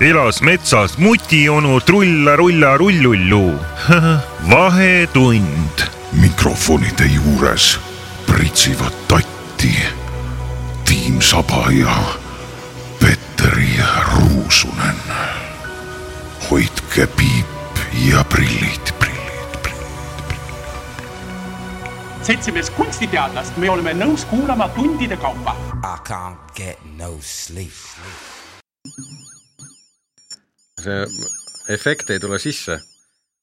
elas metsas mutionu trulla-rulla-rullullu . vahetund . mikrofonide juures pritsivad tatti Tiim Saba ja Petteri Ruusunen . hoidke piip ja prillid , prillid , prillid . seltsimees kunstiteadlast me oleme nõus kuulama tundide kaupa . I can't get no sleep. see efekt ei tule sisse .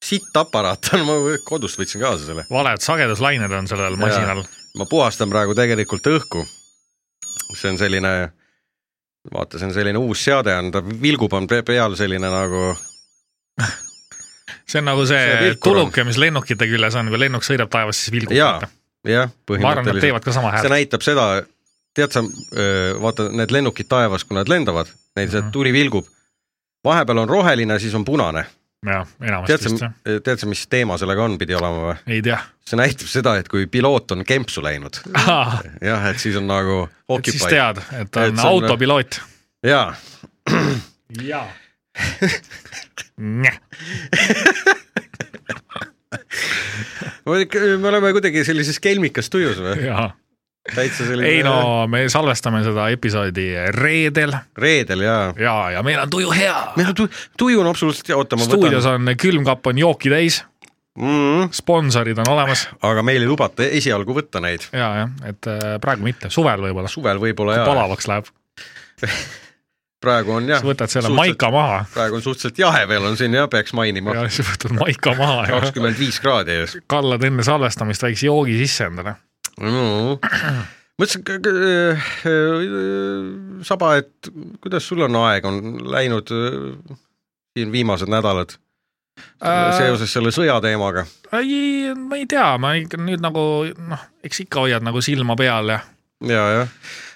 sitt aparaat on , ma kodust võtsin kaasa selle . valed sageduslained on sellel masinal . ma puhastan praegu tegelikult õhku . see on selline , vaata , see on selline uus seade on , ta vilgub , on pe- peal selline nagu , see on nagu See see vilkur on. tuluke , mis lennukite küljes on , kui lennuk sõidab taevas , siis vilgub . jaa , jah , ma arvan , nad põhimõtteliselt . teevad ka sama see häält . näitab seda , tead sa , vaata need lennukid taevas , kui nad lendavad , neil see Mhm. tuli vilgub , vahepeal on roheline , siis on punane . jah , enamasti tead vist sa jah ., tead sa , mis teema sellega on , pidi olema või ? ei tea . see näitab seda , et kui piloot on kempsu läinud , jah , et siis on nagu siis occupied . tead , et on Et see on- autopiloot . jaa , jaa . me oleme kuidagi sellises kelmikas tujus või ? jaa . täitsa selline ei no me salvestame seda episoodi reedel reedel jaa . ja , ja meil on tuju hea . meil on tu- , tuju on absoluutselt , oota ma stuudios võtan . on külmkapp on jooki täis , Mm -hmm. sponsorid on olemas aga meil ei lubata esialgu võtta neid , ja , jah , et äh, praegu mitte , suvel võib-olla , suvel võib-olla kui jaa , palavaks läheb , praegu on jah siis , võtad selle maika maha praegu on suhteliselt jahe veel on siin jah , peaks mainima ja , siis võtad maika maha ja kakskümmend viis kraadi ees kallad enne salvestamist väikse joogi sisse endale . no. . mõtlesin , äh, Saba , et kuidas sul on aeg , on läinud äh, siin viimased nädalad Äh. seoses selle sõja teemaga . ei , ma ei tea , ma ikka nüüd nagu noh , eks ikka hoiad nagu silma peal ja , ja , jah ,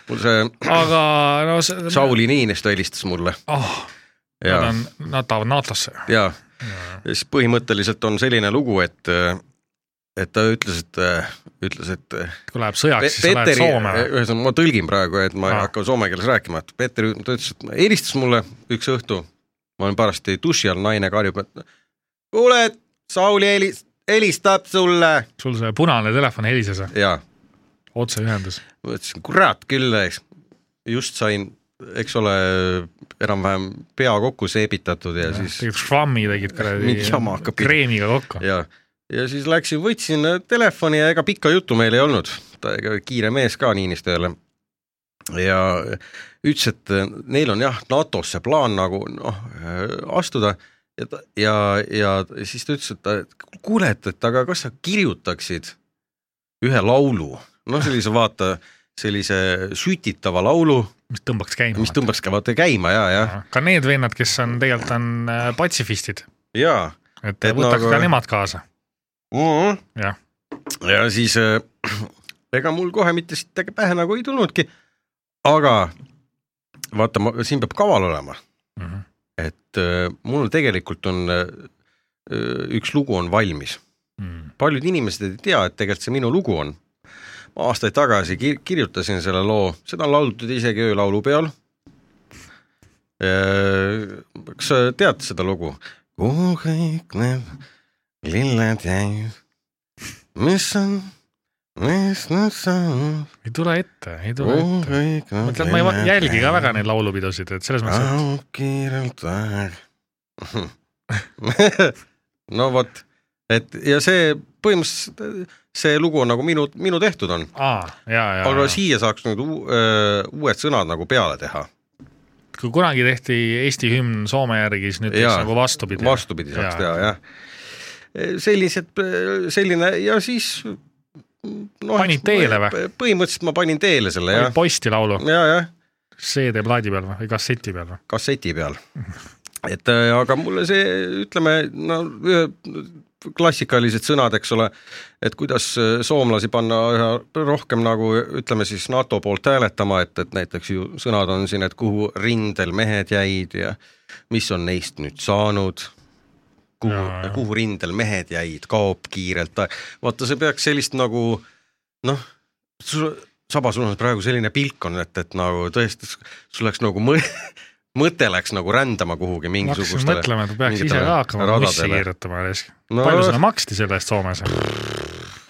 mul see aga no see . Sauli Niinistö helistas mulle oh, . Nad ja , on , nad tahavad NATO-sse . ja siis põhimõtteliselt on selline lugu , et äh, et ta ütles , et , ütles , et äh, kui läheb sõjaks , siis sa lähed Petteri , Soome või ? ühesõnaga ma tõlgin praegu , et ma ei Aa. hakka soome keeles rääkima , et Peeter ta ütles , et helistas mulle üks õhtu , ma olin parajasti duši all , naine karjub , et kuule , Sauli helis- , helistab sulle sul see punane telefon helises või ? ja otseühendus . ma ütlesin , kurat küll , eks just sain , eks ole , enam-vähem pea kokku seebitatud ja siis tegid švammi tegid Mingi jama kuradi hakkab pihta. kreemiga kokku . ja , ja siis läksin , võtsin äh, telefoni ja ega pikka juttu meil ei olnud , ta ega kiire mees ka Niinistööle . ja ütles , et äh, neil on jah , NATO-sse plaan nagu noh astuda ja , ja , ja siis ta ütles , et ta- et kuule , et , et aga kas sa kirjutaksid ühe laulu , noh , sellise vaata , sellise sütitava laulu , mis tõmbaks käima . mis tõmbaks ka vaata käima ja , ja , ka need vennad , kes on tegelikult on äh, patsifistid , ja et, Et et võtaks nagu- nagu... ka nemad kaasa . mm . -hmm. jah , ja siis äh, ega mul kohe mitte sittagi pähe nagu ei tulnudki . aga vaata , ma siin peab kaval olema , Mhm. et äh, mul tegelikult on äh, üks lugu on valmis , Mm. paljud inimesed ei tea , et tegelikult see minu lugu on . ma aastaid tagasi kir kirjutasin selle loo , seda on laultud isegi öölaulupeol . Äh, kas sa tead seda lugu ? kuhu kõik need lilled jäid , mis on , mis nad saavad , ei tule ette , ei tule kuhu ette . kõik ma ütlen , ma ei va- jälgi ka väga neid laulupidusid , et selles mõttes , laulnud . kiirelt aeg . no vot , et ja see põhimõtteliselt see lugu on nagu minu , minu tehtud on , et aa , ja , ja , aga ja siia saaks nüüd uu, öö, uued sõnad nagu peale teha , kui kunagi tehti Eesti hümn Soome järgi , siis nüüd teeks Jaa. nagu vastupidi . vastupidi saaks teha , jah . sellised , selline ja siis no, Panid teele või? ? põhimõtteliselt ma panin teele selle oli jah , postilaulu ja , jah CD-plaadi peal või , või kasseti peal või ? kasseti peal . et äh, aga mulle see , ütleme , no ühe- klassikalised sõnad , eks ole , et kuidas äh, soomlasi panna üha rohkem nagu ütleme siis NATO poolt hääletama , et , et näiteks ju sõnad on siin , et kuhu rindel mehed jäid ja mis on neist nüüd saanud , kuhu Jaa, , jah. kuhu rindel mehed jäid , kaob kiirelt , vaata , see peaks sellist nagu noh , sul , Saba , sul on praegu selline pilk on , et , et nagu tõesti , sul läks nagu mõ- mõte läks nagu rändama kuhugi ma hakkasin mingisugustele . mõtlema , et ma peaks ise ka hakkama bussi kirjutama alles No- no, . palju seda maksti selle eest Soomes ?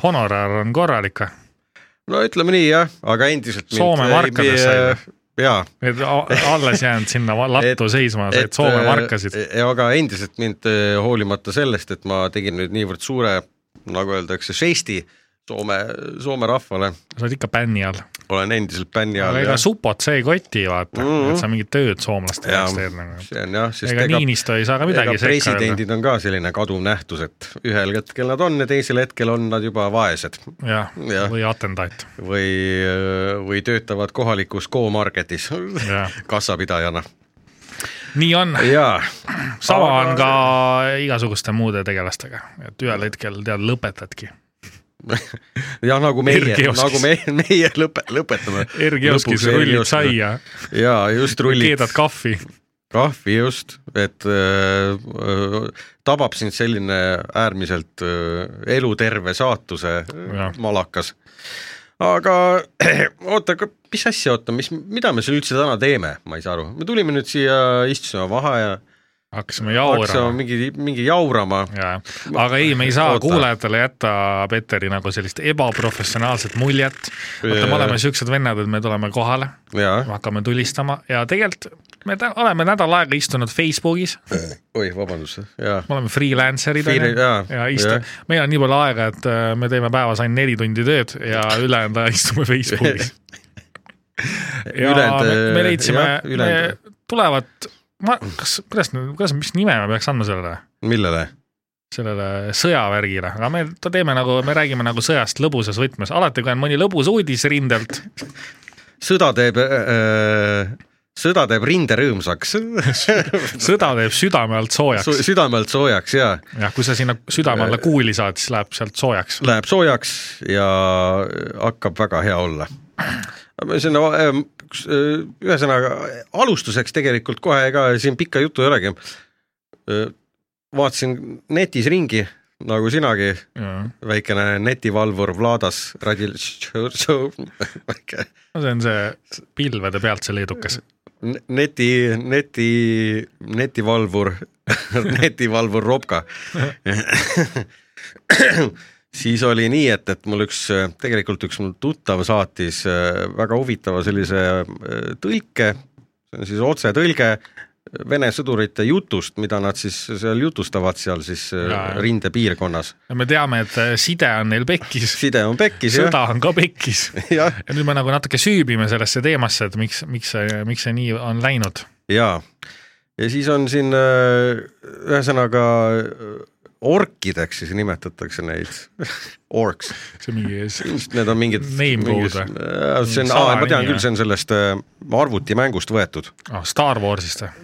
honorar on korralik või ? no ütleme nii jah , aga endiselt . Soome markades sai või? jaa . Need a- alles jäänud sinna va- lattu Et- äh, seisma , said Soome markasid . aga endiselt mind eh, hoolimata sellest , et ma tegin nüüd niivõrd suure , nagu öeldakse , žesti Soome , Soome rahvale , sa oled ikka bänni all . olen endiselt bänni all aga ega ja supot see ei koti , vaata mm , Mhm. -hmm. et sa mingit tööd soomlaste Jaa. jaoks teed nagu . see on jah , sest ega Niinistö ei saa ka ega midagi sekka öelda . presidendid on ka selline kaduv nähtus , et ühel hetkel nad on ja teisel hetkel on nad juba vaesed jah Jah. , või atendaat . või , või töötavad kohalikus Go-Marketis Jah. kassapidajana . nii on , jaa , sama Aga on ka igasuguste muude tegelastega , et ühel hetkel tead , lõpetadki . jah , nagu meie , Erkioskis. nagu me , meie lõpe , lõpetame . Ergioskis rullid . saia , jaa , just rullid keedad kahvi . kahvi just , et öö, öö, tabab sind selline äärmiselt öö, eluterve saatuse öö, Jah. malakas . aga oota , aga mis asja , oota , mis , mida me siin üldse täna teeme , ma ei saa aru , me tulime nüüd siia , istusime vaheaja , hakkasime hakkasime jaurama . mingi , mingi jaurama , jaa , aga ei , me ei saa Oota. kuulajatele jätta Peteri nagu sellist ebaprofessionaalset muljet . vaata , me oleme siuksed vennad , et me tuleme kohale me jaa , hakkame tulistama ja tegelikult me tä- oleme nädal aega istunud Facebookis , oi , vabandust , jaa , me oleme freelancer'id Free- onju jaa, ja istu- jah. , meil on nii palju aega , et äh, me teeme päevas ainult neli tundi tööd ja ülejäänud aja istume Facebookis . ja Ülejäänud, me, me äh, leidsime jah, , ülejäänud. me tulevad , ma , kas , kuidas , kuidas , mis nime me peaks andma sellele , millele ? sellele sõjavärgile , aga me ta- teeme nagu , me räägime nagu sõjast lõbusas võtmes , alati kui on mõni lõbus uudis rindelt , sõda teeb öö, sõda teeb rinde rõõmsaks , sõda teeb südame alt soojaks . südamelt soojaks ja jah , kui sa sinna südame Äh. alla kuuli saad , siis läheb sealt soojaks . läheb soojaks ja hakkab väga hea olla . sinna , ühesõnaga alustuseks tegelikult kohe ega siin pikka juttu ei olegi . vaatasin netis ringi nagu sinagi , no väikene netivalvur Vladas Radil- , väike see on see pilvede pealt see leedukas . N- neti , neti , netivalvur , netivalvur Robka . siis oli nii , et , et mul üks , tegelikult üks mul tuttav saatis äh, väga huvitava sellise äh, tõlke , see on siis otsetõlge Vene sõdurite jutust , mida nad siis seal jutustavad seal siis äh, Jaa, jah. rindepiirkonnas . me teame , et äh, side on neil pekkis , side on pekkis jah , sõda on ka pekkis . jah , ja nüüd me nagu natuke süübime sellesse teemasse , et miks , miks see , miks see nii on läinud . jaa , ja siis on siin äh, ühesõnaga äh, orkideks siis nimetatakse neid , orks , see on mingi s- need on mingid . Name code või? see on , Salajane ma tean nimi küll , või? see on sellest äh, arvutimängust võetud . ah, Star Warsist või ?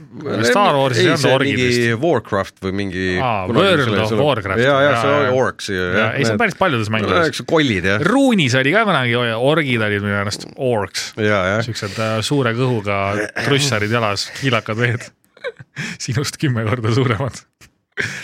Star Warsis ei olnud orgid vist . mingi Warcraft või mingi . Aa, World of Warcraft. ja , ja Jaa, see jaa. oli orks . ja ei , see on päris paljudes mängudes . mängudes . kollid jah , ruunis oli ka kunagi , orgid olid minu arust , orks . ja , jah , siuksed äh, suure kõhuga trussarid jalas , kiilakad veed , sinust kümme korda suuremad .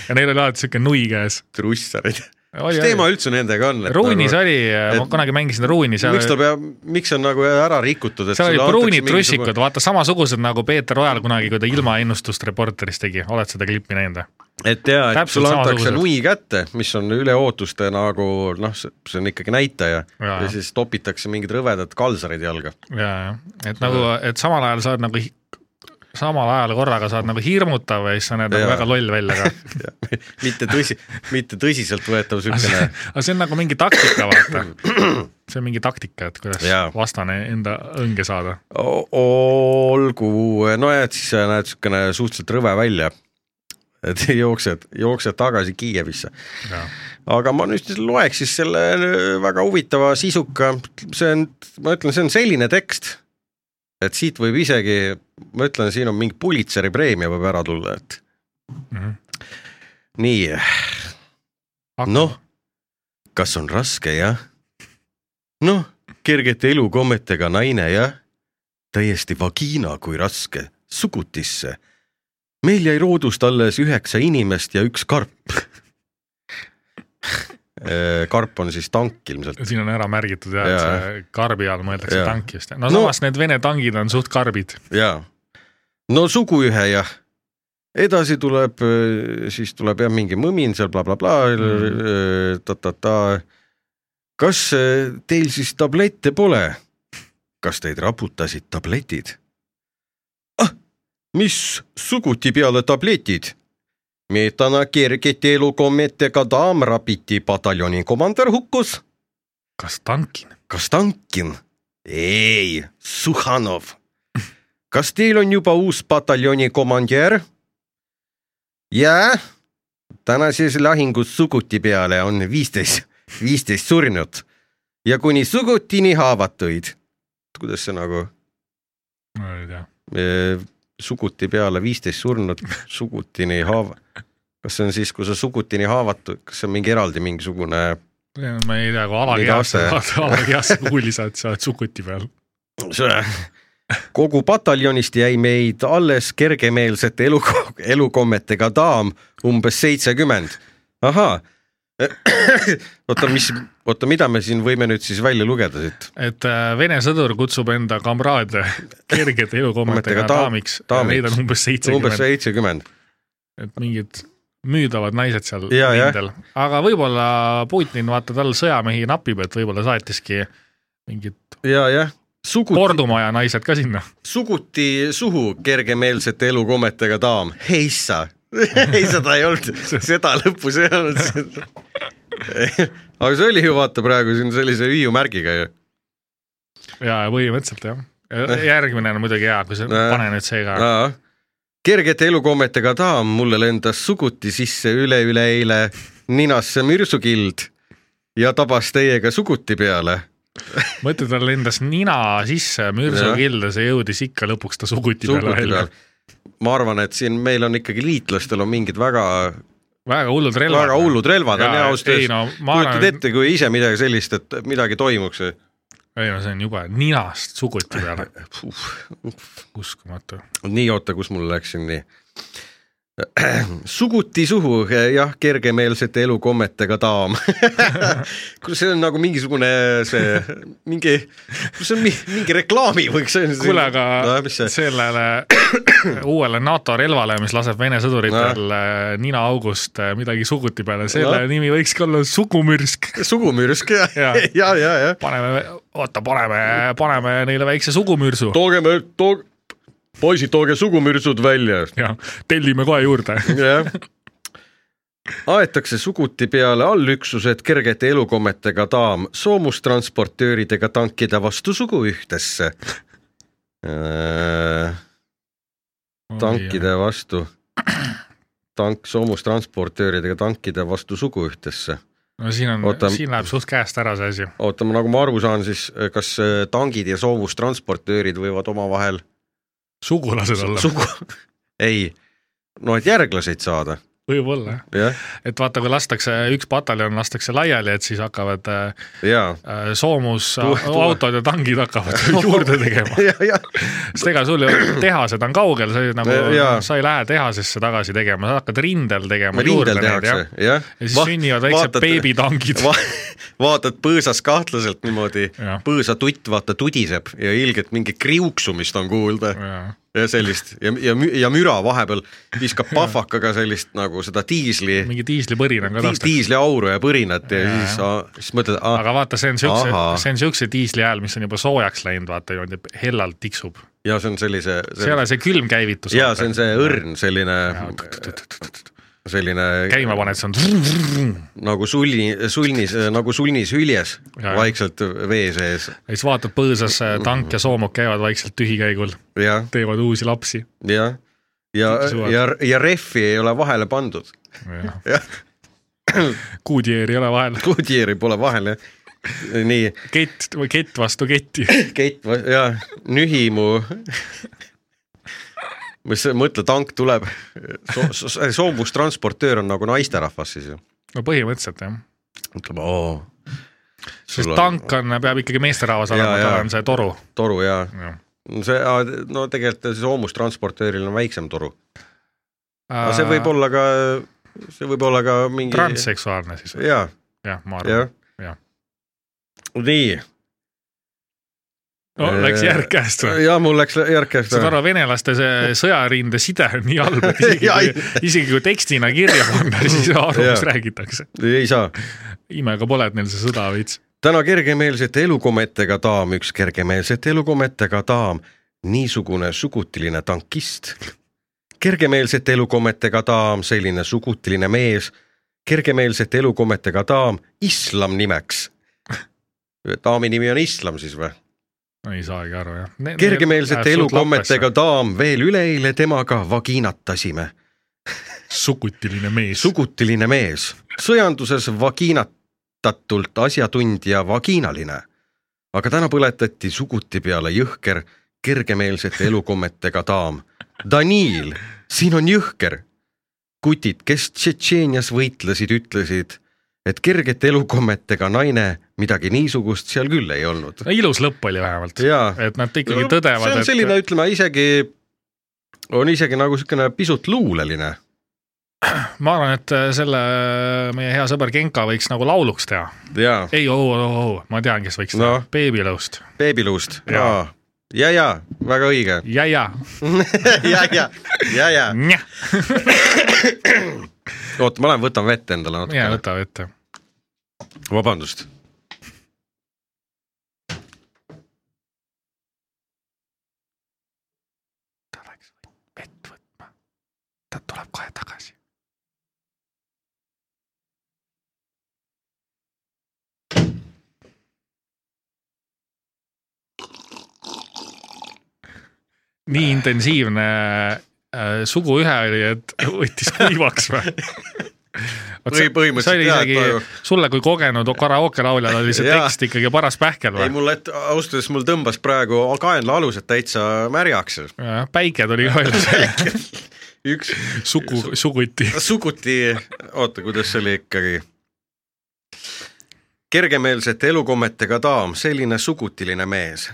ja neil oli alati siuke nui käes . trussarid . mis teema üldse nendega on ? ruunis oli , ma et- kunagi mängisin ruuni , seal miks ta oli , peab , miks on nagu ära rikutud , et seal sulle olid antakse pruunid mingisugune- trussikud , vaata samasugused nagu Peeter Ojal kunagi , kui ta ilmaennustust Reporteris tegi , oled seda klippi näinud või ? et jaa , et Täpselt sulle antakse samasugused. nui kätte , mis on üle ootuste nagu noh , see on ikkagi näitaja ja, Jaa. ja siis topitakse mingid rõvedad kalsarid jalga . ja , ja , et nagu , et samal ajal sa oled nagu hi- samal ajal korraga saad nagu hirmutav ja siis sa näed nagu Jaa. väga loll välja ka . mitte tõsi , mitte tõsiseltvõetav siukene aga see on nagu mingi taktika , vaata . see on mingi taktika , et kuidas Jaa. vastane enda õnge saada . o- olgu , nojah , et siis sa näed siukene suhteliselt rõve välja . et jooksed , jooksed tagasi Kiievisse . aga ma nüüd siis loeks siis selle äh, väga huvitava sisuka , see on , ma ütlen , see on selline tekst , et siit võib isegi , ma ütlen , siin on mingi Pulitzeri preemia võib ära tulla , et Mhm. nii , noh , kas on raske , jah ? noh , kergete elukommetega naine , jah ? täiesti vagiina kui raske , sugutisse . meil jäi roodust alles üheksa inimest ja üks karp . karp on siis tank ilmselt . siin on ära märgitud ja, ja. Jaa. see karbi all mõeldakse Jaa. tanki just . no No- samas need Vene tangid on suht karbid . jaa , no suguühe ja edasi tuleb , siis tuleb jah , mingi mõmin seal blablabla mm. , ta-ta-ta . kas eh, teil siis tablette pole ? kas teid raputasid tabletid ? ah , mis suguti peale tabletid ? me täna kergete elukommetega daam rapiti , pataljoni komandör hukkus . kas tankin ? Kastankin ? ei , Suhanov . kas teil on juba uus pataljoni komandör ? jaa , tänases lahingus suguti peale on viisteist , viisteist surnut ja kuni sugutini haavatuid . kuidas see nagu ma ei tea , eh, suguti peale viisteist surnut , sugutini haava , kas see on siis , kui sa sugutini haavatud , kas see on mingi eraldi mingisugune ma ei tea , kui alakehasse Mida , alakehasse kuuli saad , sa oled sukuti peal . See- kogu pataljonist jäi meid alles kergemeelsete elu , elukommetega daam umbes seitsekümmend . ahaa , oota , mis , oota , mida me siin võime nüüd siis välja lugeda siit ? et äh, Vene sõdur kutsub enda kamraade kergete elukommetega Kommetega daam- daamiks, daamiks. , daamiks. neid on umbes umbes seitsekümmend , seitsekümmend , et mingid müüdavad naised seal Ja, ja. rindel , aga võib-olla Putin , vaata tal sõjamehi napib , et võib-olla saatiski mingid ja , jah . suguti , kordumaja naised ka sinna . suguti suhu kergemeelsete elukommetega daam , heissa . ei , seda ei olnud , seda lõpus ei olnud . aga see oli ju vaata praegu siin sellise hüüumärgiga ju . ja , ja põhimõtteliselt jah . Eh. järgmine on muidugi hea , kui sa Nojah. pane nüüd see ka . Aa. kergete elukommetega daam mulle lendas suguti sisse üle-üleeile ninasse mürsukild ja tabas teiega suguti peale . mõtle , tal lendas nina sisse mürsukilda , see jõudis ikka lõpuks ta suguti peale suguti Eh. välja peal .. ma arvan , et siin meil on ikkagi liitlastel on mingid väga , väga hullud relvad . väga hullud relvad on ja ausalt ei öeldes . no ma kujutad arvan , et ette , kui ise midagi sellist , et midagi toimuks . ei no see on jube , ninast suguti peale , uskumatu . nii , oota , kus mul läks siin nii ? suguti suhu , jah , kergemeelsete elukommetega daam . kuule , see on nagu mingisugune see , mingi , see on mi- mingi reklaami võiks . kuule , aga no, mis see , sellele uuele NATO relvale , mis laseb Vene sõduritel äh, ninaaugust äh, midagi suguti peale , selle Nojah. nimi võikski olla sugumürsk . sugumürsk ja , Jaa. ja , ja , ja, ja. . paneme , oota , paneme , paneme neile väikse sugumürsu tooge , tooge , poisid , tooge sugumürsud välja ja tellime kohe juurde . Oh, jah . aetakse suguti peale allüksused kergete elukommetega daam soomustransportööridega tankide vastu sugu ühtesse . Äh, tankide vastu , tank soomustransportööridega tankide vastu sugu ühtesse . no siin on Oota. , siin läheb suht käest ära see asi . oota , nagu ma aru saan , siis kas äh, tangid ja soomustransportöörid võivad omavahel sugulased olla , sugu , ei , no et järglaseid saada , võib-olla jah . jah , et vaata , kui lastakse , üks pataljon lastakse laiali , et siis hakkavad äh, jaa . äh, soomus Tu- tu- autod ja tangid hakkavad juurde tegema . ja , ja sest ega sul ju tehased on kaugel , sa ei nagu Jaa. , sa ei lähe tehasesse tagasi tegema , sa hakkad rindel tegema . rindel tehakse , jah . ja siis Va sünnivad väiksed beebitangid va . vaatad põõsas kahtlaselt niimoodi Jah. , põõsatutt vaata tudiseb ja ilgelt mingi kriuksumist on kuulda ja sellist ja , ja , ja müra vahepeal viskab pahvakaga sellist nagu seda diisli , mingi diislipõrin on ka taustal . diisliauru ja põrinat ja, Jaa, ja siis , siis mõtled , aga vaata , see on siukse Ahaa. , see on siukse diisli hääl , mis on juba soojaks läinud , vaata niimoodi hellalt tiksub . ja see on sellise , see ei ole see külm käivitus . ja see on see . õrn selline , selline käima paned , see on . nagu sulni , sulnis , nagu sulnis hüljes Jaa. vaikselt vee sees ja siis vaatad põõsas äh, tank ja soomuk käivad vaikselt tühikäigul , ja teevad uusi lapsi . jah , ja Kõik , suvad. ja , ja rehvi ei ole vahele pandud , kuudjeeri ei ole vahel , kuutiiri pole vahele . nii , kett või kett vastu ketti . Keit va- ja Nühimu . mis see , mõtle , tank tuleb so, , so, soomustransportöör on nagu naisterahvas siis ju , no põhimõtteliselt jah , ütleb oo . sest tank on , peab ikkagi meesterahvas Jaa, olema , tal jaa. on see toru . toru ja see , no tegelikult soomustransportööril on väiksem toru , aga see võib . olla ka , see võib olla ka mingi . transseksuaalne siis , jaa , jah , ma arvan jah . Jah. . nii . no läks järg käest või ? ja mul läks järg käest saad aru , venelaste see sõjarinde side on nii halb , et isegi Jaa, kui , isegi kui tekstina kirja panna , siis ei saa aru , mis Jaa. räägitakse . ei saa . imega pole , et neil see sõda veits . täna kergemeelsete elukometega daam , üks kergemeelsete elukometega daam , niisugune sugutiline tankist . kergemeelsete elukometega daam , selline sugutiline mees . kergemeelsete elukometega daam , islam nimeks . daami nimi on islam siis või ? no ei saagi aru jah . kergemeelsete elukommetega . daam , veel üleeile temaga vagiinatasime . sugutiline mees . sugutiline mees , sõjanduses vagiinatatult asjatundja vagiinaline . aga täna põletati suguti peale jõhker kergemeelsete elukommetega daam . Daniil , siin on jõhker . kutid , kes Tšetšeenias võitlesid , ütlesid , et kergete elukommetega naine midagi niisugust seal küll ei olnud . no ilus lõpp oli vähemalt . jaa . et nad ikkagi tõdevad , see on et selline , ütleme isegi , on isegi nagu niisugune pisut luuleline . ma arvan , et äh, selle äh, meie hea sõber Genka võiks nagu lauluks teha . jaa , ei , oo , oo , oo , ma tean , kes võiks teha No. no. . Beebilõust . beebiluust . Jaa. jaa , ja , ja väga õige . ja , ja , ja , ja , ja , ja . njah . oot , ma lähen võtan vett endale ja natukene . võta ette . vabandust . ta läks vett võtma . ta tuleb kohe tagasi . nii intensiivne äh, suguühe oli , et võttis kuivaks või ? Või põhimõtteliselt see oli jah, isegi et taju- sulle kui kogenud karaoke lauljal oli see Jaa. tekst ikkagi paras pähkel ei , või ? mul , et ausalt öeldes mul tõmbas praegu kaenlaalused täitsa märjaks . päike tuli ka välja , üks sugu , suguti . suguti , oota , kuidas see oli ikkagi ? kergemeelsete elukommetega daam , selline sugutiline mees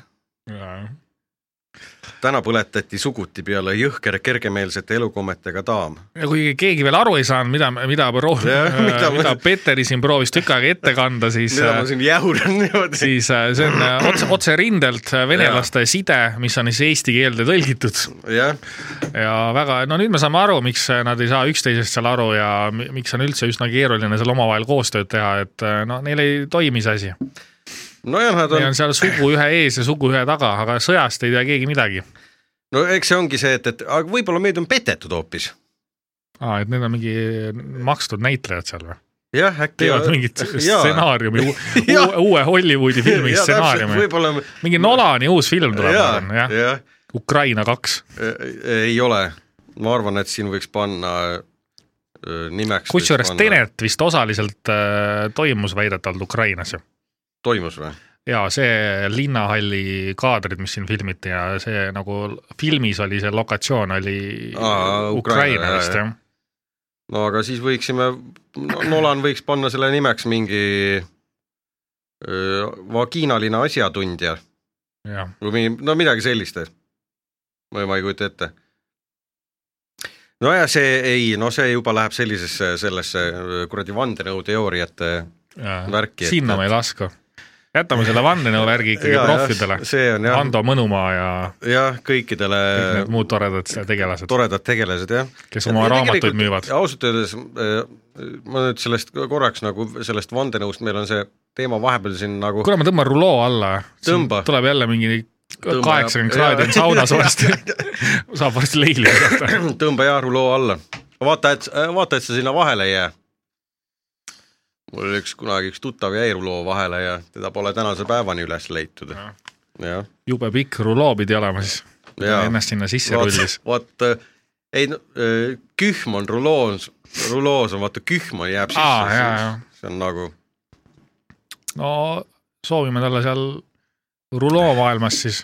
täna põletati suguti peale jõhker kergemeelsete elukommetega daam . ja kui keegi veel aru ei saanud , mida , mida proov- , Jah, mida mida, ma- mida Peteri siin proovis tükk aega ette kanda , siis , mida ma siin jahuran niimoodi . siis äh, see on äh, otse , otse rindelt äh, venelaste side , mis on siis eesti keelde tõlgitud jah , ja väga , no nüüd me saame aru , miks äh, nad ei saa üksteisest seal aru ja mi- miks on üldse üsna keeruline seal omavahel koostööd teha , et äh, no neil ei toimi see asi . nojah , nad Neil on on , seal sugu ühe ees ja sugu ühe taga , aga sõjast ei tea keegi midagi . no eks see ongi see , et , et aga võib-olla meid on petetud hoopis . aa , Ah, et need on mingi makstud näitlejad seal või ? jah , äkki . teevad mingit stsenaariumi , Jaa. uue Hollywoodi filmi stsenaariumi . võib-olla , mingi Nolani uus film tuleb , ma arvan , jaa , jah . jah , Ukraina kaks . ei ole . ma arvan , et siin võiks panna äh, nimeks . kusjuures . Tenet vist osaliselt äh, toimus väidetavalt Ukrainas ju . toimus või ? ja see linnahalli kaadrid , mis siin filmiti ja see nagu filmis oli see lokatsioon oli Aa, Ukraina, Aa, Ukraina jah, vist jah . no aga siis võiksime , Nolan võiks panna selle nimeks mingi öö, vagiinaline asjatundja jah , või mingi , no midagi sellist . või ma ei kujuta ette . no ja see ei , no see juba läheb sellisesse , sellesse öö, kuradi äh, vandenõuteooriate Värki, et- sinna me ei laska . jätame selle vandenõuvärgi ikkagi Jaa, jah, proffidele . see on jah , Äh, Ando Mõnumaa ja jah , kõikidele kõik need muud toredad tegelased , toredad tegelased jah . kes oma raamatuid müüvad . ausalt öeldes öö, ma nüüd sellest korraks nagu sellest vandenõust , meil on see teema vahepeal siin nagu kuule , ma tõmban ruloo alla . Tõmba. tuleb jälle mingi Tõmba, kaheksakümmend jah. kraadi on saunas varsti . saab varsti leili hakata . tõmba Jaaru loo alla . vaata , et , vaata , et sa sinna vahele ei jää . mul oli üks kunagi üks tuttav jäi Jaaru loo vahele ja teda pole tänase päevani üles leitud . jah , jube pikk ruloo pidi olema siis . Jaa. ennast sinna sisse vaata rullis ., vaata , ei no öö, kühm on ruloos , ruloos on vaata kühm on jääb Aa, sisse jaa, jaa. , see on nagu no soovime talle seal ruloo maailmas siis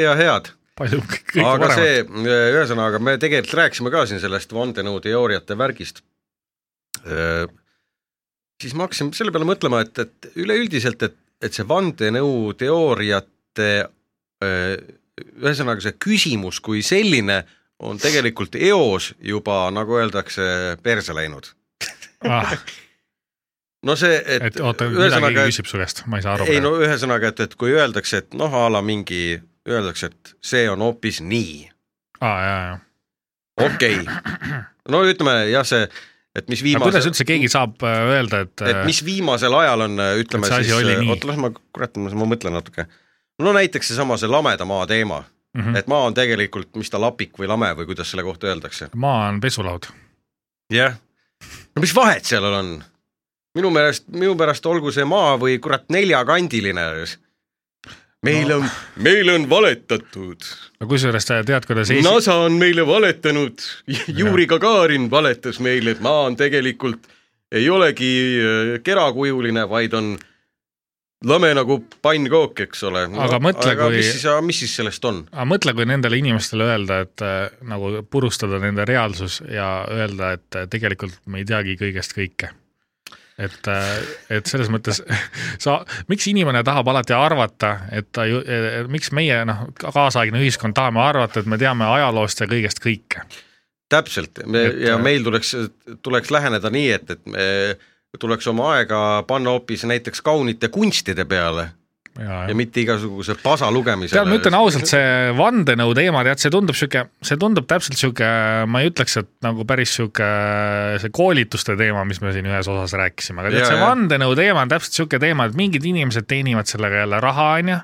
ja head , palju k- kõike aga paremat see... . see , ühesõnaga me tegelikult rääkisime ka siin sellest vandenõuteooriate värgist . siis ma hakkasin selle peale mõtlema , et , et üleüldiselt , et , et see vandenõuteooriate , eh, ühesõnaga see küsimus kui selline on tegelikult eos juba , nagu öeldakse , perse läinud . Ah, no see , et, et oota , mida keegi küsib su käest , ma ei saa aru . ei no ühesõnaga , et , et kui öeldakse , et noh , a la mingi , öeldakse , et see on hoopis nii , aa , Ah, jaa , jaa . okei okay. . no ütleme jah , see , et mis aga kuidas viimasel , üldse keegi saab äh, öelda , et, et mis viimasel ajal on , ütleme Et see asi siis oli , nii. oota las ma , kurat , ma mõtlen natuke . no näiteks seesama , see lameda maa teema , mm -hmm. et maa on tegelikult , mis ta lapik või lame või kuidas selle kohta öeldakse . maa on pesulaud . jah . no mis vahet sellel on ? minu meelest , minu pärast olgu see maa või kurat neljakandiline . meil no. on , meile on valetatud . aga kusjuures sa tead , kuidas Eesti no, , NASA on meile valetanud , Juri Gagarin valetas meile , et maa on tegelikult , ei olegi äh, kerakujuline , vaid on lame nagu pannkook , eks ole . Aga mõtle, aga kui- mis siis , mis siis sellest on ? aga mõtle , kui nendele inimestele öelda , et äh, nagu purustada nende reaalsus ja öelda , et äh, tegelikult me ei teagi kõigest kõike . et , et selles mõttes sa , miks inimene tahab alati arvata , et ta ju , miks meie noh , kaasaegne ühiskond tahame arvata , et me teame ajaloost ja kõigest kõike . täpselt me, Et- äh, ja meil tuleks , tuleks läheneda nii , et , et me tuleks oma aega panna hoopis näiteks kaunite kunstide peale ja, ja mitte igasuguse pasa lugemisele . tead , ma ütlen ausalt , see vandenõu teema , tead , see tundub sihuke , see tundub täpselt sihuke , ma ei ütleks , et nagu päris sihuke see koolituste teema , mis me siin ühes osas rääkisime , aga tead , Jaa, see jah. vandenõu teema on täpselt sihuke teema , et mingid inimesed teenivad sellega jälle raha , onju .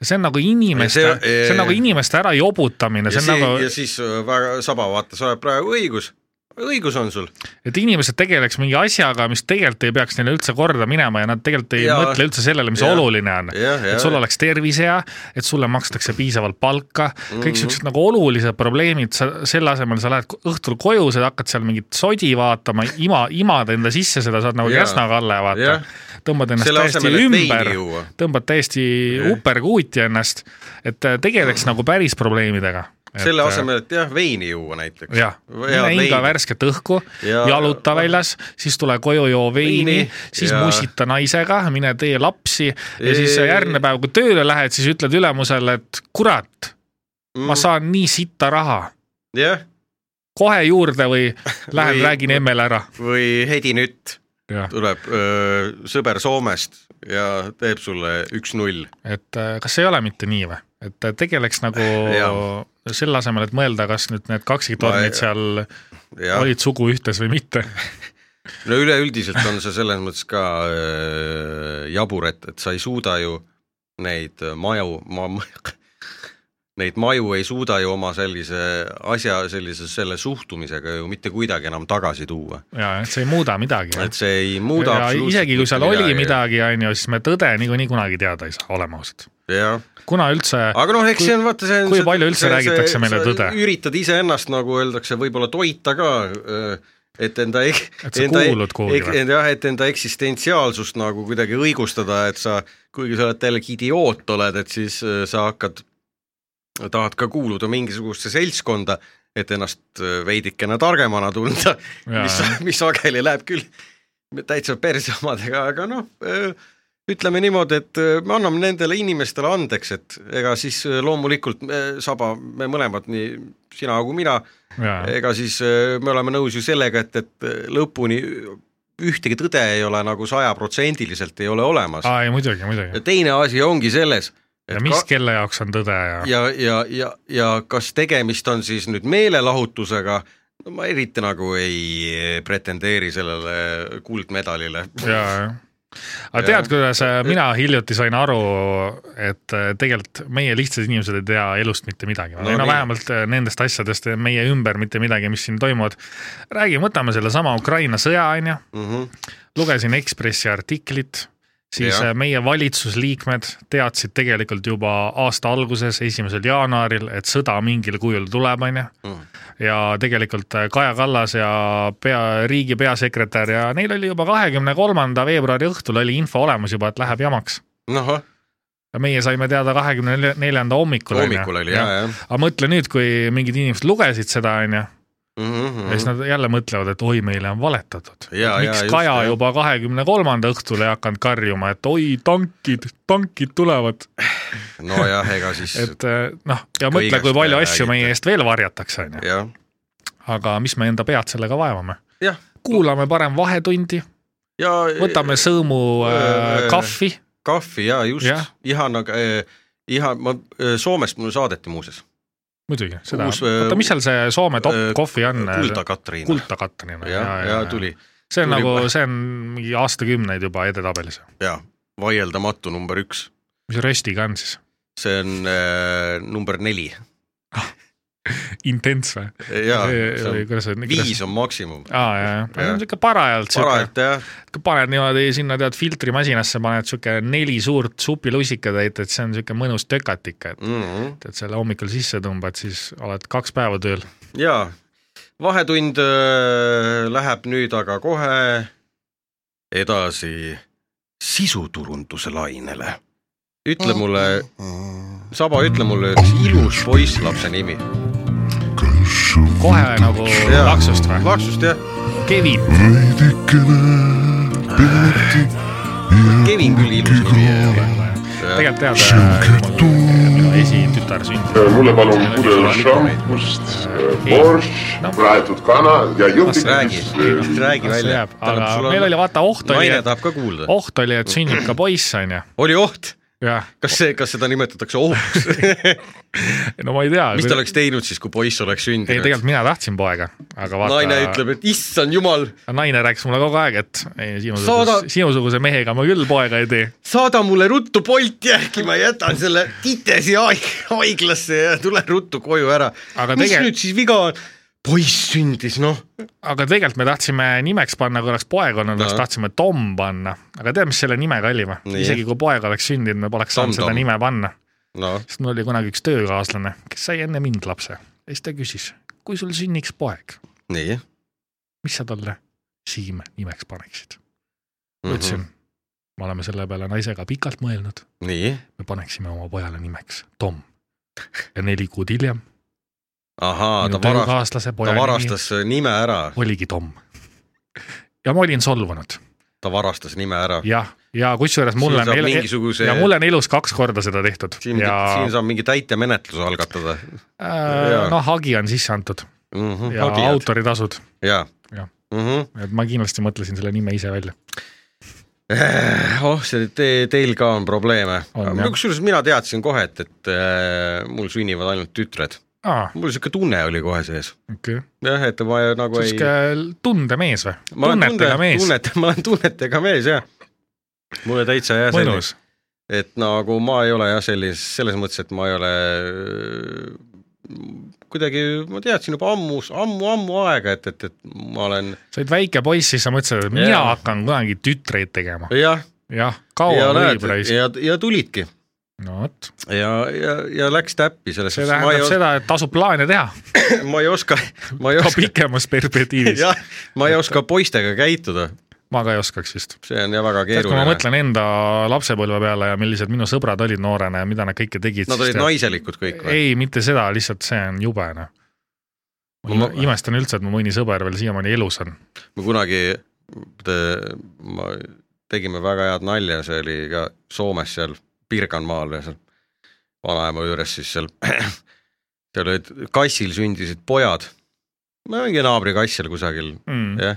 ja see on nagu inimeste , Ja see- see, see on nagu inimeste ära jobutamine , ja, see on see, see, ja nagu , siis äh, väga saba , vaata , sa oled praegu õigus , õigus on sul . et inimesed tegeleks mingi asjaga , mis tegelikult ei peaks neile üldse korda minema ja nad tegelikult ei Jaa. ja, mõtle üldse sellele , mis Jah. ja, oluline on jah , et sul jah , oleks tervis hea , et sulle makstakse piisavalt palka mm , -hmm. Mhm. kõik siuksed nagu olulised probleemid , sa selle asemel sa lähed õhtul koju , sa hakkad seal mingit sodi vaatama , ima , imad enda sisse seda , saad nagu Jaa. Käsna-Kalle vaata Jah. . tõmbad ennast selle täiesti asemel , et ümber veini , juua . tõmbad täiesti uperkuuti ennast , et äh, tegeleks nagu päris probleemidega . äh, selle . asemel , et jah , veini juua näiteks . jah , mine hinga värsket õhku Ja- ja, , jaluta väljas , siis tule koju , joo veini Veini, , siis ja- ja. mussita naisega , mine tee lapsi ja siis Ei- järgmine päev , kui tööle lähed , siis ütled ülemusele , et kurat , ma . Mm. saan nii sitta raha , jah , kohe juurde või lähen Või- või... räägin emmele ära . või Hedi Nütt Jah. tuleb öö, sõber Soomest ja teeb sulle üks-null . et äh, kas ei ole mitte nii või , et äh, tegeleks nagu Jah. selle asemel , et mõelda , kas nüüd Ma need ei- kaksiktornid seal jah , olid sugu ühtes või mitte . no üleüldiselt on see selles mõttes ka äh, jabur , et , et sa ei suuda ju neid äh, maju , ma , neid maju ei suuda ju oma sellise asja , sellise selle suhtumisega ju mitte kuidagi enam tagasi tuua . ja , et see ei muuda midagi . et see ei muuda ja isegi kui seal oli . midagi , on ju , siis me tõde niikuinii kunagi teada ei saa , oleme ausad . jah , kuna üldse , aga noh , eks Kui- see on vaata see on kui see- palju üldse see- see- räägitakse meile sa tõde? üritad iseennast , nagu öeldakse , võib-olla toita ka , et enda ek- Et sa enda- e- kuulud kuhugi ek- või? et jah , et enda eksistentsiaalsust nagu kuidagi õigustada , et sa , kuigi sa oled täielik idioot oled , et siis äh, sa hakkad , tahad ka kuuluda mingisugusesse seltskonda , et ennast äh, veidikene targemana tunda , Jaa, mis jah. , mis sageli läheb küll täitsa perse omadega , aga noh , ütleme niimoodi , et äh, me anname nendele inimestele andeks , et ega siis äh, loomulikult me- Saba , me mõlemad , nii sina kui mina , jaa , ega siis äh, me oleme nõus ju sellega , et , et lõpuni ühtegi tõde ei ole nagu sajaprotsendiliselt ei ole olemas . ei muidugi , muidugi . ja teine asi ongi selles , ja mis ka... kelle jaoks on tõde ja, ja... , ja , ja , ja , ja kas tegemist on siis nüüd meelelahutusega , no ma eriti nagu ei pretendeeri sellele kuldmedalile . ja , ja . aga tead , kuidas äh, mina hiljuti sain aru , et äh, tegelikult meie lihtsad inimesed ei tea elust mitte midagi No no, , no nii. vähemalt äh, nendest asjadest äh, meie ümber mitte midagi , mis siin toimuvad . räägi , võtame sellesama Ukraina sõja , on ju Mm -hmm. lugesin Ekspressi artiklit , siis Jah. ja. meie valitsusliikmed teadsid tegelikult juba aasta alguses , esimesel jaanuaril , et sõda mingil kujul tuleb , onju Mm. . ja tegelikult äh, Kaja Kallas ja pea , riigi peasekretär ja neil oli juba kahekümne kolmanda veebruari õhtul oli info olemas juba , et läheb jamaks . ahah , ja meie saime teada kahekümne neljanda hommikul . hommikul oli ja , ja . aga mõtle nüüd , kui mingid inimesed lugesid seda , onju ja siis nad jälle mõtlevad , et oi , meile on valetatud . Mhm, Jaa, jaa, noh, miks just, Kaja jah. juba kahekümne kolmanda õhtul ei hakanud karjuma , et oi , tankid , tankid tulevad , nojah , ega siis et eh, noh , ja mõtle , kui Kõigest palju ei asju räägita. meie eest veel varjatakse , onju . jah , aga mis me enda pead sellega vaevame ? jah , kuulame parem Vahetundi , ja võtame sõõmu äh, Äh, kahvi , kahvi ja just Jah. ihan , aga eh, ihan ma äh, Soomest mulle saadeti muuseas muidugi , seda , Uus, äh, oota , mis seal see Soome top äh, kohvi on ? Kulda Katriin ja , kulda Katrin . ja, ja tuli see on tuli nagu kohe. , see on mingi aastakümneid juba edetabelis . ja vaieldamatu number üks , mis röstiga on siis ? see on äh, number neli intens või ? ja see või on, kuidas see on ? viis on maksimum . aa , jaa , jaa , see Jah. on siuke parajalt siuke , parajalt jah , paned niimoodi sinna tead filtrimasinasse , paned siuke neli suurt supilusikatäit , et see on siuke mõnus tökat ikka , et Mhm. et selle hommikul sisse tõmbad , siis oled kaks päeva tööl . ja vahetund äh, läheb nüüd aga kohe edasi sisuturunduse lainele . ütle mulle , Saba , ütle mulle üks ilus poisslapse nimi . kas kohe nagu Jaa. laksust või ? laksust jah , Kevin , veidikene peeti Kevin küll ilus nimi ei ole . tegelikult tead , minu esitütar sündis . mulle palun pudel šampust , borš Noh. , praetud kana ja räägi , juhtimis . räägi välja . aga meil oli vaata oht oli , naine et Oh. tahab ka kuulda . oht oli , et sünnib ka poiss , onju . oli oht , jah , kas see , kas seda nimetatakse ohuks ? no ma ei tea . mis ta oleks teinud siis , kui poiss oleks ei , sündinud ? tegelikult mina tahtsin poega , aga vaata . naine ütleb , et issand jumal , naine rääkis mulle kogu aeg , et ei , Saada- sinusuguse , sinusuguse mehega ma küll poega ei tee . saada mulle ruttu Bolti äkki , ma jätan selle titesi haig- haiglasse ja tulen ruttu koju ära . Aga mis tegel- nüüd siis viga on ? poiss sündis , noh . aga tegelikult me tahtsime nimeks panna , kui oleks poeg olnud , oleks No. tahtsime Tom panna , aga tead , mis selle nimega oli või ? Nii. isegi kui poeg oleks sündinud , me poleks saanud seda Tom-Tom. nime panna , noh , sest mul oli kunagi üks töökaaslane , kes sai enne mind lapse ja siis ta küsis , kui sul sünniks poeg , nii . mis sa talle Siim nimeks paneksid ? ma Mhm. ütlesin , me oleme selle peale naisega pikalt mõelnud , nii , me paneksime oma pojale nimeks Tom . ja neli kuud hiljem ahaa , minu ta varastas , töökaaslase ta poja nimi varastas nime ära , oligi Tom . ja ma olin solvunud , ta varastas nime ära . jah , ja kusjuures mulle siin on saab elu- mingisuguse ja , mul on elus kaks korda seda tehtud siin, ja siin saab mingi täitemenetluse algatada äh, jaa. noh , hagi on sisse antud mm . -hmm. ja Hagijad. . autoritasud , jaa Jah. . Mm -hmm. et ma kindlasti mõtlesin selle nime ise välja . oh , see te, , teil ka on probleeme On, jah. . kusjuures mina teadsin kohe , et , et äh, mul sünnivad ainult tütred . aa , mul niisugune tunne oli kohe sees . okei , jah , et ma nagu ei sihuke tundemees või ? ma olen tunnetega mees , tunnet , ma olen tunnetega mees , jah . mulle täitsa jah , mõnus , et nagu ma ei ole jah , sellis- , selles mõttes , et ma ei ole kuidagi , ma teadsin juba ammu , ammu-ammu aega , et , et , et ma olen sa olid väike poiss , siis sa mõtlesid , et mina Jaa. hakkan kunagi tütreid tegema . jah , jah , ja kaua näed võib , raisk , ja , ja tulidki no vot , ja , ja , ja läks täppi selles see mõttes , ma ei tähendab oska , seda , et tasub plaane teha ma ei oska , ma ei ka oska , pikemas perspektiivis . jah , ma ei oska poistega käituda , ma ka ei oskaks vist . see on jah väga tead , kui ma keeruline . mõtlen enda lapsepõlve peale ja millised minu sõbrad olid noorena ja mida nad kõike tegid . Nad olid naiselikud kõik või ? ei , mitte seda , lihtsalt see on jube noh . ma Ma- ime- imestan üldse , et mu mõni sõber veel siiamaani elus on . me kunagi , ma , tegime väga head nalja , see oli ka Soomes seal Pirkanmaal ja seal vanaema juures siis seal , seal olid , kassil sündisid pojad , mingi naabri kass seal kusagil , Mm. jah .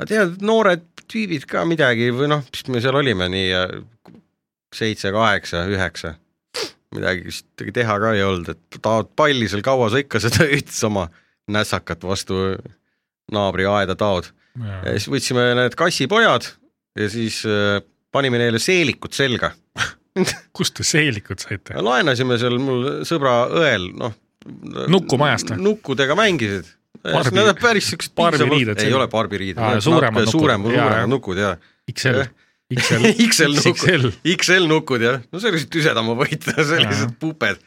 ma tean , noored tüübid ka midagi või noh , mis me seal olime nii äh, seitse , kaheksa , üheksa , midagi vist teha ka ei olnud , et tahavad palli seal , kaua sa ikka seda üht sama nässakat vastu naabri aeda taod . ja siis võtsime need kassipojad ja siis äh, panime neile seelikud selga . kust te seelikud saite ? laenasime seal mul sõbra õel , noh . Nukumajast või? nukkudega mängisid . Barbi- Nad on päris siuksed barbiriided ei selga. ole barbiriided Aa, , suuremad nukud. suurem , Jaa, suuremad jah. nukud ja XL jah. , XL XL nukud XL , XL nukud jah , no sellised tüsedamavõitja , sellised Jaa. puped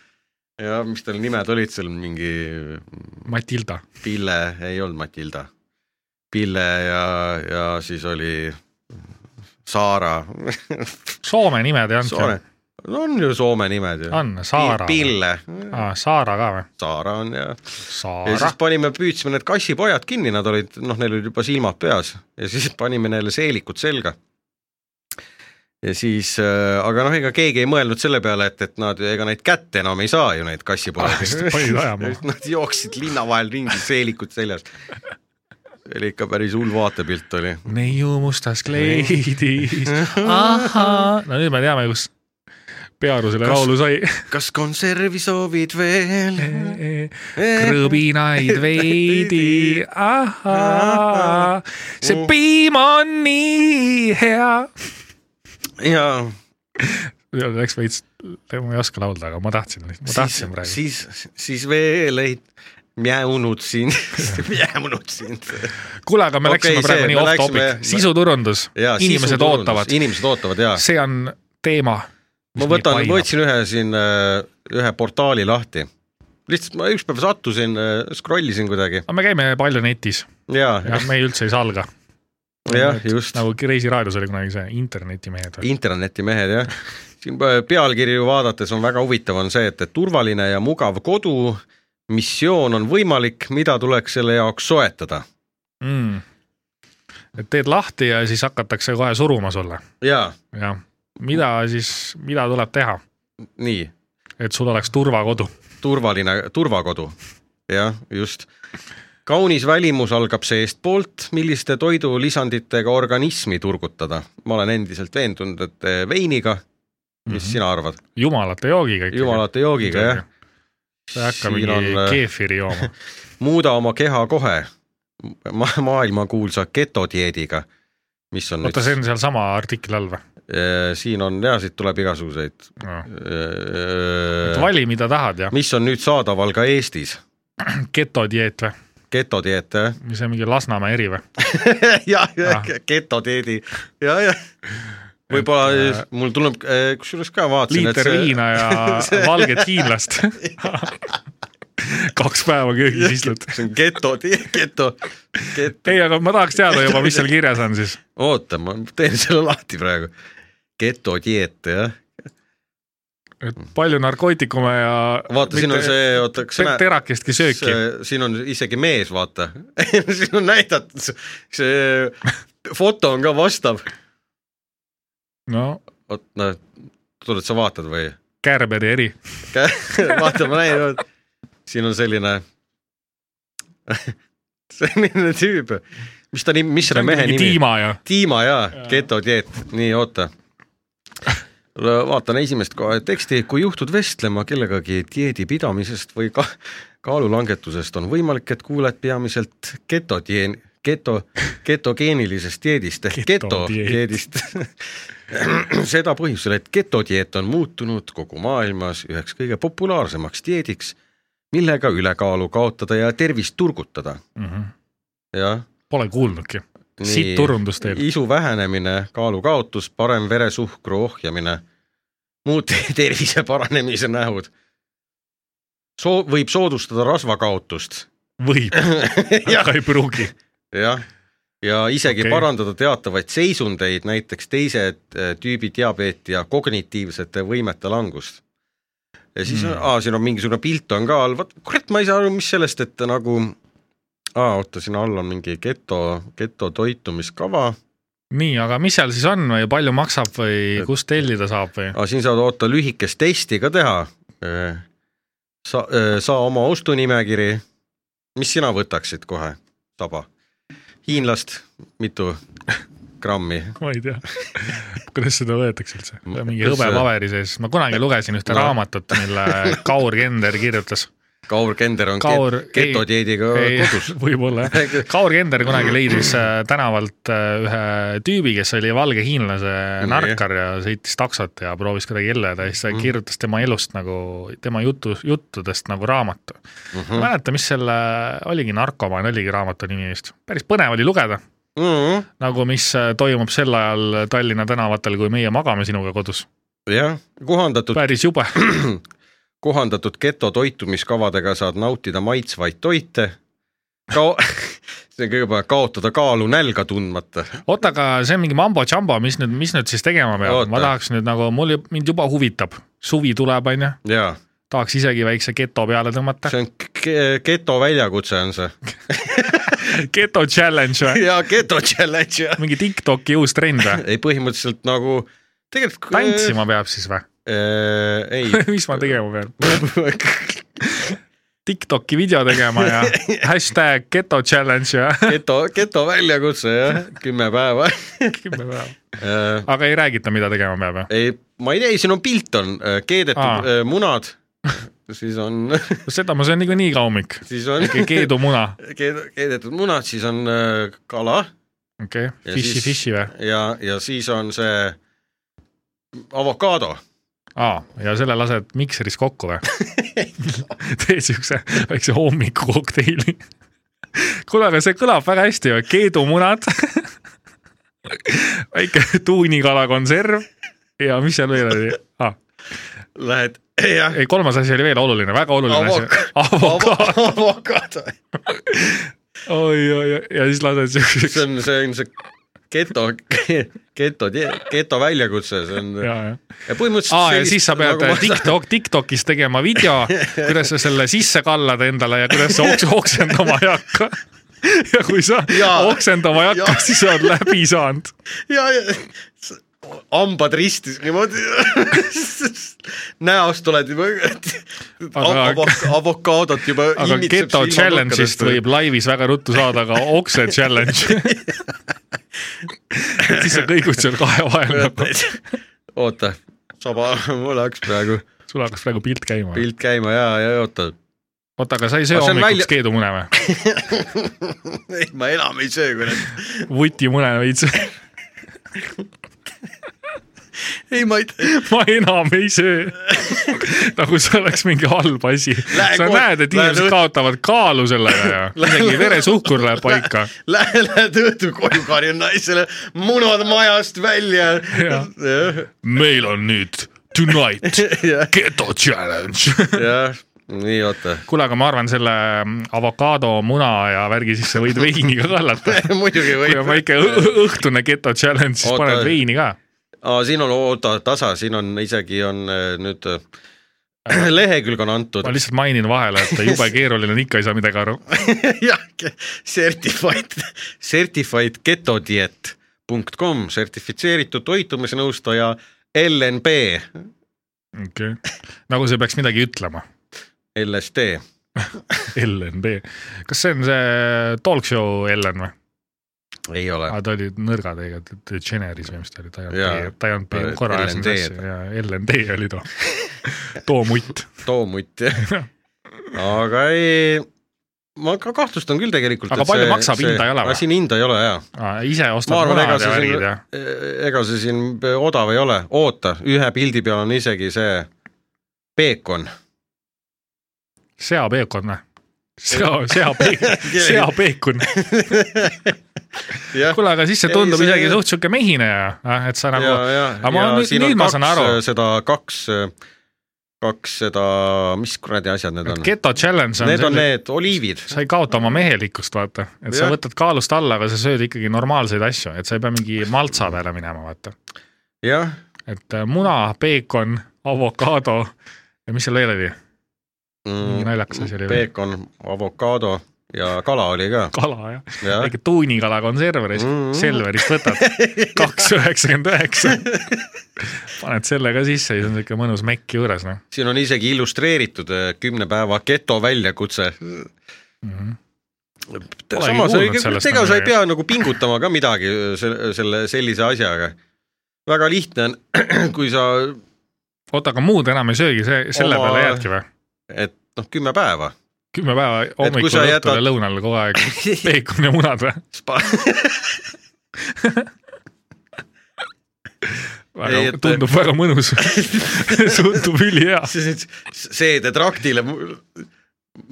ja mis tal nimed olid seal mingi Matilda , Pille , ei olnud Matilda , Pille ja , ja siis oli Saara Soome nimed ei olnud Soome ju ,, on ju Soome nimed ju . on Saara , Pille , Saara ka või ? Saara on ja . ja Saara siis , panime , püüdsime need kassipojad kinni , nad olid , noh , neil olid juba silmad peas ja siis panime neile seelikud selga . ja siis , aga noh , ega keegi ei mõelnud selle peale , et , et nad , ega neid kätte enam ei saa ju neid Ah, sest panid ajama. kassipojasid . Nad jooksid linna vahel ringi , seelikud seljas . oli ikka päris hull vaatepilt oli . neiu mustas kleidis , ahhaa . no nüüd me teame , kus Pearu selle Kas- laulu sai . kas konservi soovid veel ? krõbinaid veidi , ahhaa . see piim on nii hea . jaa , Läks veits , ma ei oska laulda , aga ma tahtsin , ma siis tahtsin , praegu . siis , siis veel ei mjäunud sind , mjäunud sind . kuule , aga me Okei, läksime praegu see, nii me off-topic , läksime- sisuturundus , inimesed ootavad , inimesed ootavad jaa . see on teema . ma võtan , võtsin ühe siin , ühe portaali lahti . lihtsalt ma ükspäev sattusin , scroll isin kuidagi aga me käime palju netis jaa , ja me ei üldse ei salga . jah , just . nagu Reisiraadios oli kunagi see internetimehed . internetimehed jah , siin äh, pealkirju vaadates on väga huvitav , on see , et et turvaline ja mugav kodu , missioon on võimalik , mida tuleks selle jaoks soetada . mm. . et teed lahti ja siis hakatakse kohe suruma sulle jaa , ja mida siis , mida tuleb teha , nii , et sul oleks turvakodu turvaline , turvakodu , jah , just kaunis välimus algab seestpoolt , milliste toidulisanditega organismi turgutada ? ma olen endiselt veendunud , et eh, veiniga , mis mm Mhm. -hmm. sina arvad , jumalate joogiga ikka . jumalate joogiga jah ,. sa ei hakka Siin mingi on, on... äh, keefiri jooma . muuda oma keha kohe ma maailmakuulsa getodieediga , mis on oota , see nüüd , on sealsama artikli all või siin on ja siit tuleb igasuguseid , no. ? Äh, vali , mida tahad ja . mis on nüüd saadaval ka Eestis , getodieet või , getodieet jah mis see mingi Lasnamäe eri või ? jah Ah. , getodieedi ja , ja võib-olla äh, äh, mul tuleb , kusjuures ka vaatasin , et liiter see... viina ja see- valget hiinlast . kaks päeva köögis istud . see on geto , geto , geto , ei , aga ma tahaks teada juba , mis seal kirjas on siis . oota , ma teen selle lahti praegu . getodieet jah , et palju narkootikume ja . vaata siin on see , oota , kas Te- terakestki sööki see... . see- siin on isegi mees , vaata . siin on näidatud , see foto on ka vastav . no oot , no , tuled sa vaatad või ? kärberi eri . vaata , ma näin , siin on selline selline tüüp , mis ta nimi , mis selle mehe nimi ? Tiima ja Tiima jaa , getodieet , nii oota . vaatan esimest kohe teksti , kui juhtud vestlema kellegagi dieedi pidamisest või ka kaalulangetusest , on võimalik , et kuuled peamiselt getodien- , geto , getogeenilisest dieedist ehk Getodieet. getodieedist . seda põhjusel , et getodieet on muutunud kogu maailmas üheks kõige populaarsemaks dieediks , millega ülekaalu kaotada ja tervist turgutada , mm . -hmm. jah Pole kuulnudki . Nii. sitt turundus teil . isu vähenemine , kaalu kaotus , parem veresuhkru ohjamine , muud tervise paranemise nähud . Soo- , võib soodustada rasvakaotust , võib , jah , aga ei pruugi . jah , ja isegi Okei. okay. parandada teatavaid seisundeid , näiteks teise eh, tüübi diabeeti ja kognitiivsete võimete langust . ja siis Hmm. mm. , aa , siin on mingisugune pilt on ka all , vot kurat , ma ei saa aru , mis sellest , et nagu aa , oota , siin all on mingi geto , geto toitumiskava nii , aga mis seal siis on või palju maksab või kust tellida saab või ? aga siin saad oota lühikest testi ka teha . sa , saa oma ostunimekiri . mis sina võtaksid kohe , Saba ? hiinlast mitu grammi ? ma ei tea , kuidas seda võetakse üldse , Ma- mingi kas- hõbepaberi sees , ma kunagi lugesin ühte No. raamatut , mille Kaur Kender kirjutas . Kaur Kender on Kaur- Kaur... ei- getodieediga kodus . võib-olla jah , Kaur Kender kunagi leidis äh, tänavalt äh, ühe tüübi , kes oli valge hiinlase Nii. narkar ja sõitis taksot ja proovis kuidagi elada ja siis ta Mhm. kirjutas tema elust nagu , tema jutu , juttudest nagu raamatu . Mhm. ma ei mäleta , mis selle , oligi narkomaan , oligi raamatu nimi vist , päris põnev oli lugeda Mm-hmm. nagu mis äh, toimub sel ajal Tallinna tänavatel , kui meie magame sinuga kodus . jah , kohandatud , päris jube . kohandatud geto toitumiskavadega saad nautida maitsvaid toite . Kao- , see on kõigepealt kaotada kaalu nälga tundmata . oota , aga see on mingi mambo-jambo , mis nüüd , mis nüüd siis tegema peab Oota. ? ma tahaks nüüd nagu , mul , mind juba huvitab , suvi tuleb , onju , jaa , tahaks isegi väikse geto peale tõmmata . see on ge- geto väljakutse on see . geto challenge või ? jaa , geto challenge jah . mingi TikToki uus trend või ? ei , põhimõtteliselt nagu tegelikult . tantsima peab siis või ? äh, ? ei mis ma tegema pean ? Tiktoki video tegema ja hashtag geto challenge ja geto , geto väljakutse jah , kümme päeva . kümme päeva . aga ei räägita , mida tegema peab , jah ? ei , ma ei tea , siin on pilt on äh, keedetud Aa. ah. munad , siis on , seda ma söön niikuinii iga hommik . siis on keedu muna , keed- keedetud munad , siis on äh, kala okei okay. , Ja fishy siis- fishy või ? ja , ja siis on see avokaado . aa , ja selle lased mikseris kokku või ? teed siukse väikse hommikukokteili . kuule , aga see kõlab väga hästi ju , keedumunad , väike tuunikalakonserv ja mis seal veel oli ah, ? Lähed , jah , ei , kolmas asi oli veel oluline , väga oluline asi . avokaado , avokaado . oi , oi , ja siis lased siukseks see , on , see on see geto , geto , geto väljakutse , see on ja , ja . ja põhimõtteliselt aa , ja sellist- siis sa nagu pead ma- nagu TikTok , TikTokis tegema video , kuidas sa selle sisse kallad endale ja kuidas sa oks- , oksendama ei hakka . ja kui sa ja, Jaa. oksendama ei hakka Jaa. , siis sa oled läbi saanud . ja , ja s- hambad ristis niimoodi , näost oled juba Aga- avo, , avokaadot juba aga imitseb geto silmanurkadest. challenge'ist võib laivis väga ruttu saada ka okse challenge . siis sa kõigud seal kahe vahel nagu , oota , saba , mul läks praegu sul hakkas praegu pilt käima . pilt käima ja , ja oota , oota , aga sa ei söö Aga see on hommikuks välja... välja- keedumune või ? ei ma enam ei söö kurat , vutimune veits . ei ma ei , ma enam ei söö . nagu see oleks mingi halb asi . Lähen sa kohe- näed , et lähen inimesed õht- kaotavad kaalu sellega ja isegi veresuhkur läheb paika . lähe , lähed õhtul koju , karjun naisele , munad majast välja . Jah. meil on nüüd tonight Jah. geto challenge . jah , nii oota , kuule , aga ma arvan , selle avokaado , muna ja värgi sisse võid veini ka kallata . muidugi kui on võib . väike õ- õhtune geto challenge , siis Oota. paned veini ka . aa , siin on , oota , tasa , siin on isegi on äh, nüüd äh, lehekülg on antud ma . lihtsalt mainin vahele , et jube keeruline on , ikka ei saa midagi aru . jah , certified , certified getodiet punkt kom , sertifitseeritud toitumisnõustaja LNB , okei , nagu see peaks midagi ütlema LSD . LNB , kas see on see talk show Ellen või ? ei ole , aga ta oli nõrga tegelikult , et Jenneris või mis ta oli , ta ei Jaa. Äh, olnud , ta ei olnud peaaegu korra ajas neid LND-d. asju ja LND oli too , too mutt . toomutt jah . aga ei , ma ka kahtlustan küll tegelikult . Aga palju maksab? Hinda ei ole või? või ? siin hinda ei ole jaa . Ah, ise ma ostad arvan , ega munad ja see värgid siin ja ,, ega see siin odav ei ole , oota , ühe pildi peal on isegi see peekon . seapeekon või ? sea , seapeekon , seapeekon . jah , kuule , aga siis see Ei, tundub see- isegi suht sihuke mehine ja , et sa nagu ja , ja , aga ma ja nüüd- siin nüüd on ma saan kaks aru. äh, seda kaks , kaks seda , mis kuradi asjad need on ? geto challenge on Need on see , need oliivid , sa ei kaota oma mehelikkust , vaata , et sa Jah. võtad kaalust alla , aga sa sööd ikkagi normaalseid asju , et sa ei pea mingi maltsa peale minema , vaata . jah , et äh, muna , peekon , avokaado ja mis seal veel oli , mingi naljakas asi oli veel , Mm. peekon , avokaado ja kala oli ka , kala jah , jah . väike tuunikala konserveris mm , -hmm. Mhm. Selverist võtad kaks üheksakümmend üheksa . paned selle ka sisse ja siis on siuke mõnus mekk juures noh , siin on isegi illustreeritud äh, kümne päeva geto väljakutse mm . Mhm. Polegi -hmm. samas kuulnud sellest ega nagu sa ei midagi. pea nagu pingutama ka midagi selle, selle sellise asjaga . väga lihtne on , kui sa , oota , aga muud enam ei söögi , see , selle Oma- peale jäädki või ? et noh , kümme päeva kümme päeva kui hommikul , sa õhtul jätad- ja lõunal kogu aeg peekon ja munad või ? Spa . Ei, et- tundub väga mõnus . tundub ülihea . seedetraktile mu-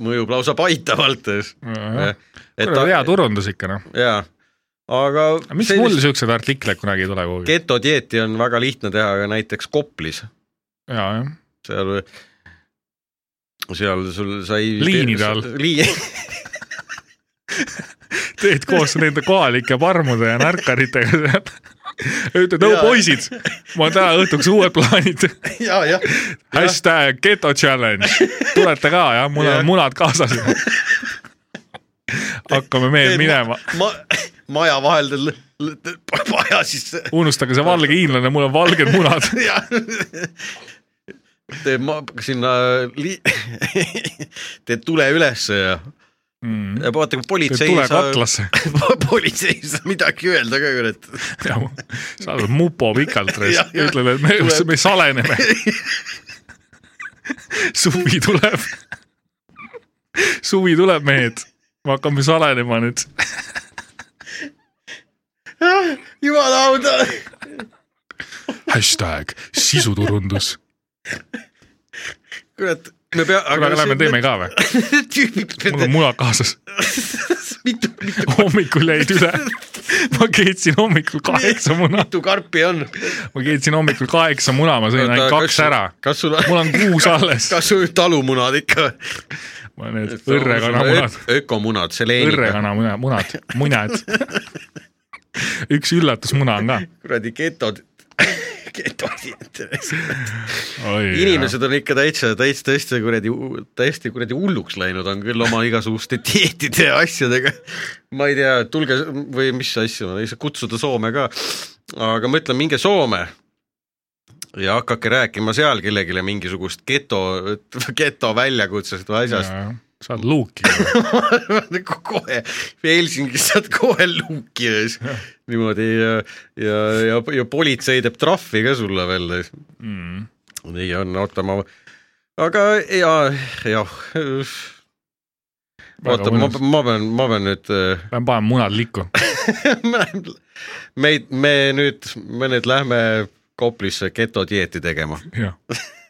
mõjub lausa paitavalt . et kuule , hea turundus ikka noh . jaa , aga miks mul siukseid artikleid kunagi ei tule kuhugi ? getodieeti on väga lihtne teha ka näiteks Koplis , ja , jah . seal , seal sul sai Liinide all. liin... . teed koos nende kohalike parmude ja narkaritega seal . ütled , no Jaa. poisid , mul on täna õhtuks uued plaanid . ja , jah , hashtag geto challenge , tulete ka jah , mul Jah. on munad kaasas . hakkame meie minema , ma, . maja vahel l- l- maja sisse unustage see valge hiinlane , mul on valged munad . ja Te ma- sinna li- , te tule ülesse ja, mm. . ja vaata , kui politsei tuleb atlasse . politsei ei saa midagi öelda ka ju , et sa oled mupo pikalt , Jah, jah. ütleme , et me, Tuleb. me saleneme . suvi tuleb . suvi tuleb , mehed . me hakkame salenema nüüd . jumala auto , hashtag sisuturundus . kurat , me pea- . kuule , lähme teeme ka või ? tüübid , mul on munad kaasas . mitu , mitu , hommikul jäid üle . ma keetsin hommikul kaheksa muna , mitu karpi on ? ma keetsin hommikul kaheksa muna , ma sõin ainult kaks ära . kas sul mul on kuus alles . kas sul talumunad ikka ? ma olen need õrrekanamunad , ökomunad , seleeniga . õrrekanamunad , munad , munad . üks üllatusmuna on ka . kuradi getod , getod . inimesed on ikka täitsa , täitsa tõesti kuradi , täiesti kuradi hulluks läinud on küll oma igasuguste dieetide ja asjadega . ma ei tea , tulge või mis asja , ma ei saa kutsuda Soome ka , aga ma ütlen , minge Soome ja hakake rääkima seal kellelegi mingisugust geto , geto väljakutsest või asjast , sa oled luuki . kohe Helsingis saad kohe luuki ees niimoodi ja , ja , ja , ja politsei teeb trahvi ka sulle veel Mm. nii on , oota ma , aga ja , jah , oota ma , ma pean , ma pean nüüd , pean panema munad likku . me , me nüüd , me nüüd lähme Koplisse getodieeti tegema . jah ,